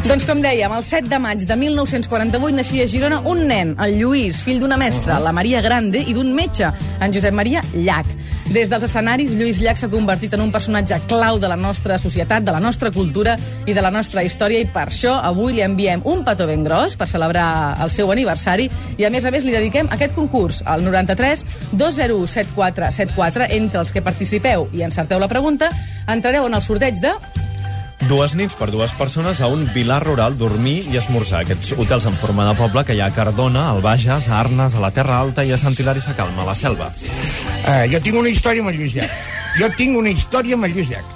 Doncs com dèiem, el 7 de maig de 1948 naixia a Girona un nen, el Lluís, fill d'una mestra, la Maria Grande, i d'un metge, en Josep Maria Llach. Des dels escenaris, Lluís Llach s'ha convertit en un personatge clau de la nostra societat, de la nostra cultura i de la nostra història, i per això avui li enviem un petó ben gros per celebrar el seu aniversari, i a més a més li dediquem aquest concurs, al 93 201 7474, entre els que participeu i encerteu la pregunta, entrareu en el sorteig de... Dues nits per dues persones a un vilar rural dormir i esmorzar. Aquests hotels en forma de poble que hi ha a Cardona, al Bages, a Arnes, a la Terra Alta i a Sant Hilari Sacalma, a la Selva. Eh, jo tinc una història amb el Lluís Llach. Jo tinc una història amb el Lluís Llach.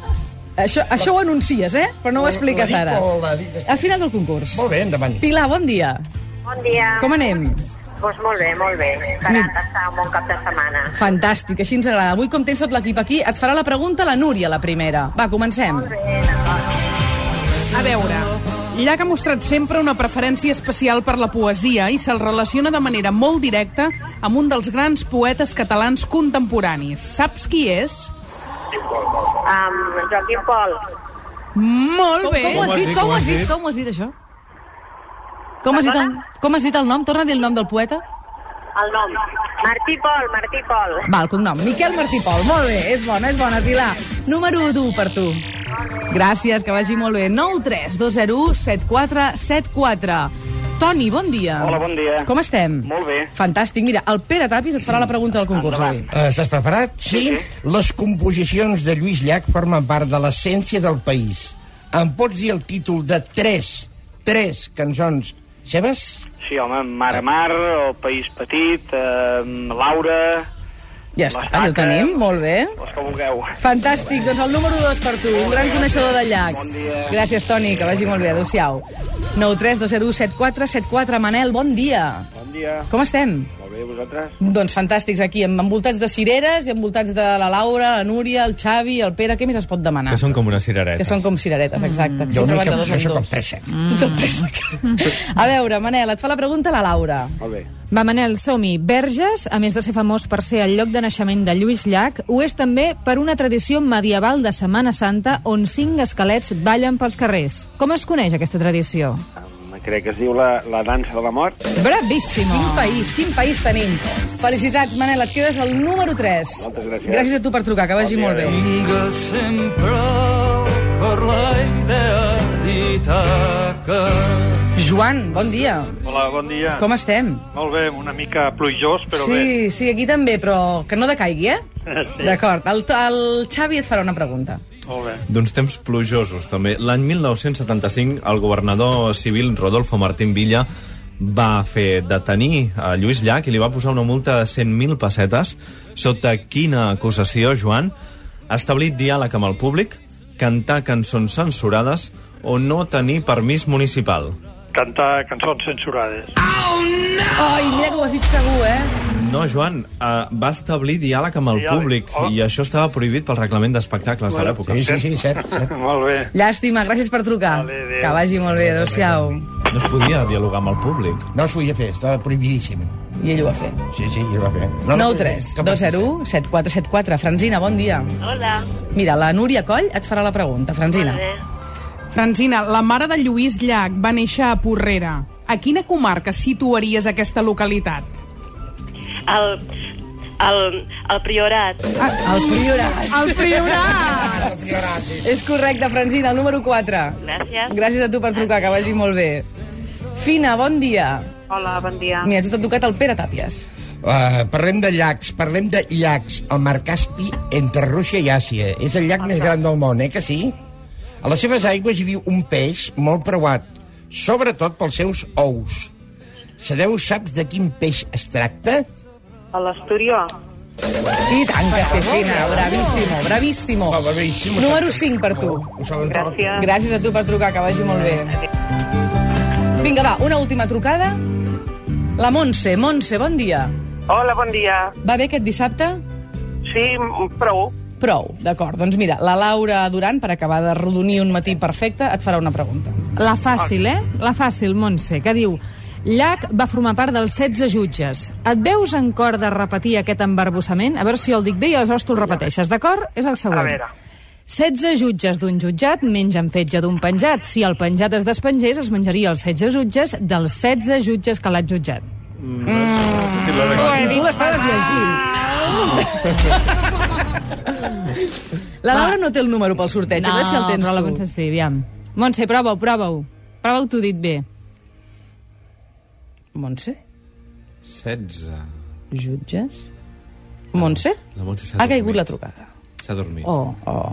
Això, això ho anuncies, eh? Però no ho La- la expliques dic ara. o la dic després? Al final del concurs. Molt bé, endavant. Pilar, bon dia. Bon dia. Com anem? Doncs molt bé, molt bé. Mi- Carat, està un bon cap de setmana. Fantàstic, així ens agrada. Avui, com tens tot l'equip aquí, et farà la pregunta la Núria, la primera. Va, comencem. Molt bé, d'acord. A veure, Llach ha mostrat sempre una preferència especial per la poesia i se'l relaciona de manera molt directa amb un dels grans poetes catalans contemporanis. Saps qui és? Um, Joaquim Pol, Molt Com, bé! com, ho has dit, com, ho has dit, com ho has dit, això? Com has dit, el, com has dit el nom? Torna a dir el nom del poeta. el nom. Martí Pol, Martí Pol. Va, el cognom. Miquel Martí Pol. Molt bé, és bona, és bona, Pilar. Número 1 per tu. Gràcies, que vagi molt bé. 9 3 2 0 7 4 7 4. Toni, bon dia. Hola, bon dia. Com estem? Molt bé. Fantàstic. Mira, el Pere Tapis et farà la pregunta del concurs. avui. Eh, Estàs preparat? Sí. Les composicions de Lluís Llach formen part de l'essència del país. Em pots dir el títol de tres, tres cançons seves? Sí, home, Mar a Mar, el País Petit, eh, Laura... Ja està, Ah, ja ho tenim. Molt bé. Les que vulgueu. Fantàstic, doncs el número 2 per tu, un gran coneixedor de llacs. Gràcies, Toni, que vagi molt bé, adéu-siau. 932017474, Manel, bon dia. Bon dia. Com estem? Molt bé, vosaltres? Doncs fantàstics, aquí, em- envoltats de cireres i envoltats de la Laura, la Núria, el Xavi, el Pere, què més es pot demanar? Que són com unes cireretes. que són com cireretes, Mm. exacte. que Jo sempre no van que de dos en això com dos. pressa. Tu ets el préssec. A veure, Manel, et fa la pregunta la Laura. Molt bé. Va, Manel, som-hi. Verges, a més de ser famós per ser el lloc de naixement de Lluís Llach, ho és també per una tradició medieval de Setmana Santa on cinc esquelets ballen pels carrers. Com es coneix aquesta tradició? Em Crec que es diu la, la dansa de la mort. Bravíssimo! Quin país, quin país tenim. Felicitats, Manel, et quedes al número 3. Moltes gràcies. Gràcies a tu per trucar, que vagi molt Bon dia, bé. adéu. Vinga sempre per la idea d'Itaca. Joan, bon dia. Hola, bon dia. Com estem? Molt bé, una mica pluijós, però bé. sí, sí, aquí també, però que no decaigui, eh? Sí. D'acord, el, el Xavi et farà una pregunta. Molt bé. D'uns temps plujosos, també. L'any 1975, el governador civil Rodolfo Martín Villa va fer detenir a Lluís Llach i li va posar una multa de 100.000 pessetes. Sota quina acusació, Joan? Establir diàleg amb el públic, cantar cançons censurades o no tenir permís municipal. Cantar cançons censurades. Ai, mira que ho has dit segur, eh? No, Joan, uh, va establir diàleg amb el Diàleg. públic Oh. i això estava prohibit pel reglament d'espectacles de l'època. Sí, sí, sí, cert, cert. Eh? Molt bé. Llàstima, gràcies per trucar. Vale, adéu. que vagi molt bé, adéu-siau. No es podia dialogar amb el públic. No s'ho havia fer, estava prohibidíssim. I ell ho va fer. Sí, sí, jo va fer. 9 3 2 0 7 4 7 4. Franzina, bon dia. Hola. Mira, la Núria Coll et farà la pregunta. Franzina. Molt bé. Francina, la mare de Lluís Llach va néixer a Porrera. A quina comarca situaries aquesta localitat? El, el, el priorat. El Priorat. El Priorat! És correcte, Franzina, el número 4. Gràcies. Gràcies a tu per trucar, que vagi molt bé. Fina, bon dia. Hola, bon dia. Mira, a tu t'ha tocat el Pere Tàpies. Uh, parlem de llacs, parlem de llacs. El mar Caspi entre Rússia i Àsia. És el llac més gran del món, eh, que sí? A les seves aigües hi viu un peix molt preuat, sobretot pels seus ous. Sabeu, saps de quin peix es tracta? A l'Asturió. I tant que sí, Fina, bravíssimo, bravíssimo. Va, Ah, bravíssimo, Oh. Número sí. 5 per tu. Ho saben tot. Gràcies a tu per trucar, que vagi molt bé. Vinga, va, una última trucada. La Montse, Montse, bon dia. Hola, bon dia. Va bé aquest dissabte? Sí, m- prou. Prou, d'acord. Doncs mira, la Laura Duran, per acabar de rodonir un matí perfecte, et farà una pregunta. La fàcil, eh? La fàcil, Montse, que diu... Llach va formar part dels 16 jutges. Et veus en cor de repetir aquest embarbussament? A veure si jo el dic bé i aleshores tu el repeteixes, d'acord? És el següent. A veure. 16 jutges d'un jutjat mengen fetge d'un penjat. Si el penjat es despengés, es menjaria els 16 jutges dels 16 jutges que l'han jutjat. No sé si l'has acabat. Tu l'estaves llegint. La Laura no té el número pel sorteig, a veure si el tens però la tu. Montse sí, aviam. Montse, prova-ho, prova-ho. Prova-ho tu dit bé. Montse? 16. Jutges? Montse? La Montse s'ha Ha caigut dormit. la trucada. S'ha dormit. Oh, oh.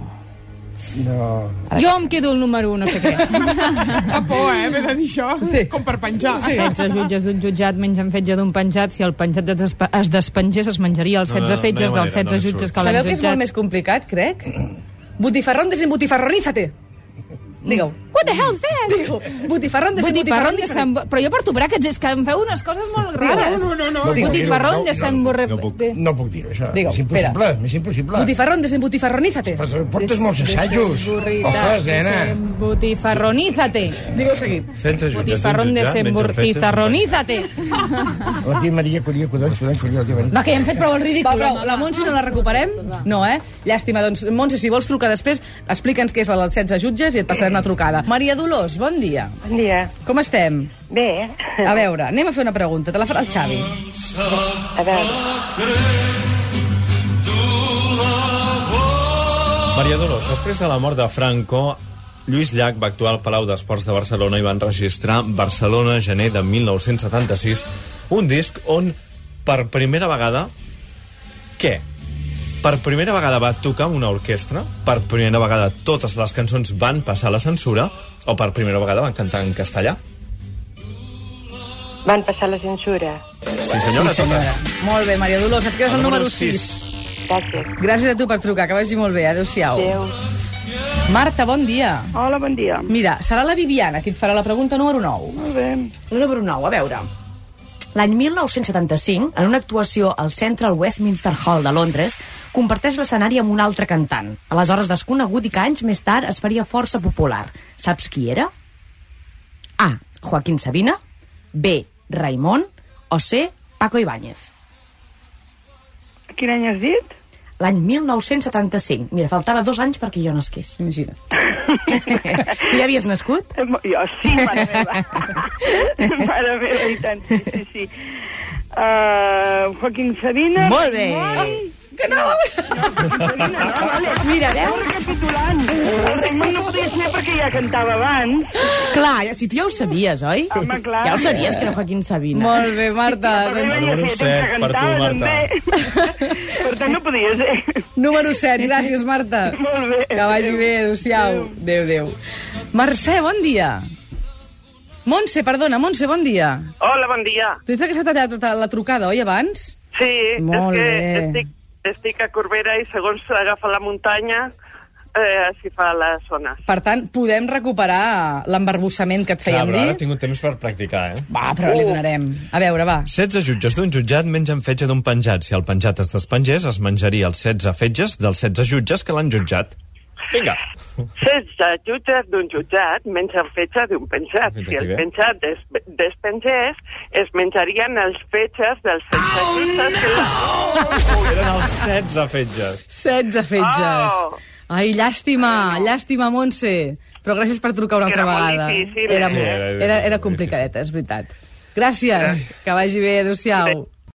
No. Jo em quedo el número no sé què. Fa por, eh, haver de dir això, sí. com per penjar. Sí. 16 jutges d'un jutjat mengen fetge d'un penjat. Si el penjat es, despe es despengés, es menjaria els No, no, 16 no hi ha fetges manera, no em surt. dels 16 jutges que l'han Sabeu jutjat. que és molt més complicat, crec? Butifarrón desembutifarronízate. Digue-ho. What the hell is that? Butifarrón Botifarrón de desembutifarronízate. Sant... Bo- Però jo per tu, braques, és que em feu unes coses molt rares. No, no, no. No puc Botifarrón dir-ho, no, de Sant Borre... no puc. Bé. No puc dir-ho, això. Digue-ho, és impossible, és impossible. Butifarrón desembutifarronízate. Però Portes molts assajos. Ostres, nena. Botifarronízate. Oh. Digue-ho seguit. 16 jutges d'un Botifarrón de jutjat Sant mengen fetges d'un penjat. Bortifarronízate. La tia Maria Coria, collons, collons, collons, la tia Maria. Va, que ja hem fet prou el Va, ridícul. però la Montse no la recuperem? No, eh? Llàstima. Doncs, Montse, si vols trucar després, explica'ns què és la dels 16 jutges i et passarem la trucada. Maria Dolors, bon dia. Bon dia. Com estem? Bé, eh? A veure, anem a fer una pregunta. Te la farà el Xavi. a veure. Maria Dolors, després de la mort de Franco, Lluís Llach va actuar al Palau d'Esports de Barcelona i van registrar Barcelona, gener de 1976, un disc on, per primera vegada, què? Per primera vegada va tocar amb una orquestra, per primera vegada totes les cançons van passar la censura, o per primera vegada van cantar en castellà? Van passar la censura. Sí, senyora, sí, senyora. Molt bé, Maria Dolors, et quedes el número 6. Gràcies. Gràcies a tu per trucar, que vagi molt bé. Adéu-siau. Adéu. Marta, bon dia. Hola, bon dia. Mira, serà la Viviana qui et farà la pregunta número 9. Molt bé. La número 9, a veure. L'any 1975, en una actuació al Central Westminster Hall de Londres, comparteix l'escenari amb un altre cantant, aleshores desconegut i que anys més tard es faria força popular. Saps qui era? A. Joaquín Sabina B. Raimon o C. Paco Ibáñez. Quin any has dit? L'any 1975. Mira, faltava dos anys perquè jo nasqués. Imagina't. tu ja havies nascut? Eh, mo- Jo, sí, mare meva. mare meva, i tant, sí, sí, sí. Uh, Joaquín Sabina. Molt bé. Raimon. Que no! Sabina, no, vale. Mira, veus? Recapitulant. El Raimon no podia ser perquè ja cantava abans. Clar, si tu ja ho sabies, oi? Home, clar. Ja ho sabies, que era Joaquín Sabina. Molt bé, Marta. Doncs, Número set, per tu, Marta. per tant, no podia ser. número 7. Gràcies, Marta. Molt bé. Que vagi bé. Adéu-siau. Adéu, adéu. Mercè, bon dia. Montse, perdona, Montse, bon dia. Hola, bon dia. Tu ets la que s'ha tallat tota la trucada, oi, abans? Sí, Molt és que bé. estic, estic a Corbera i segons agafa la muntanya eh, s'hi fa la zona. Per tant, podem recuperar l'embarbussament que et Ah, fèiem però ara he dir? tingut temps per practicar, eh? Va, però Uh. li donarem. A veure, va. 16 jutges d'un jutjat mengen fetge d'un penjat. Si el penjat es despengés, es menjaria els 16 fetges dels 16 jutges que l'han jutjat. Vinga. 16 jutges d'un jutjat mengen fetge d'un penjat. Fins Si aquí el bé. penjat des, despengés, es menjarien els fetges dels 16 oh, jutges que l'han... Eren els 16 fetges. 16 fetges. Oh. Ai, llàstima, llàstima, Montse. Però gràcies per trucar una Era altra molt vegada. difícil, eh? era, Sí, molt, era era, difícil, era, difícil. complicadeta, és veritat. Gràcies, que vagi bé, adéu-siau.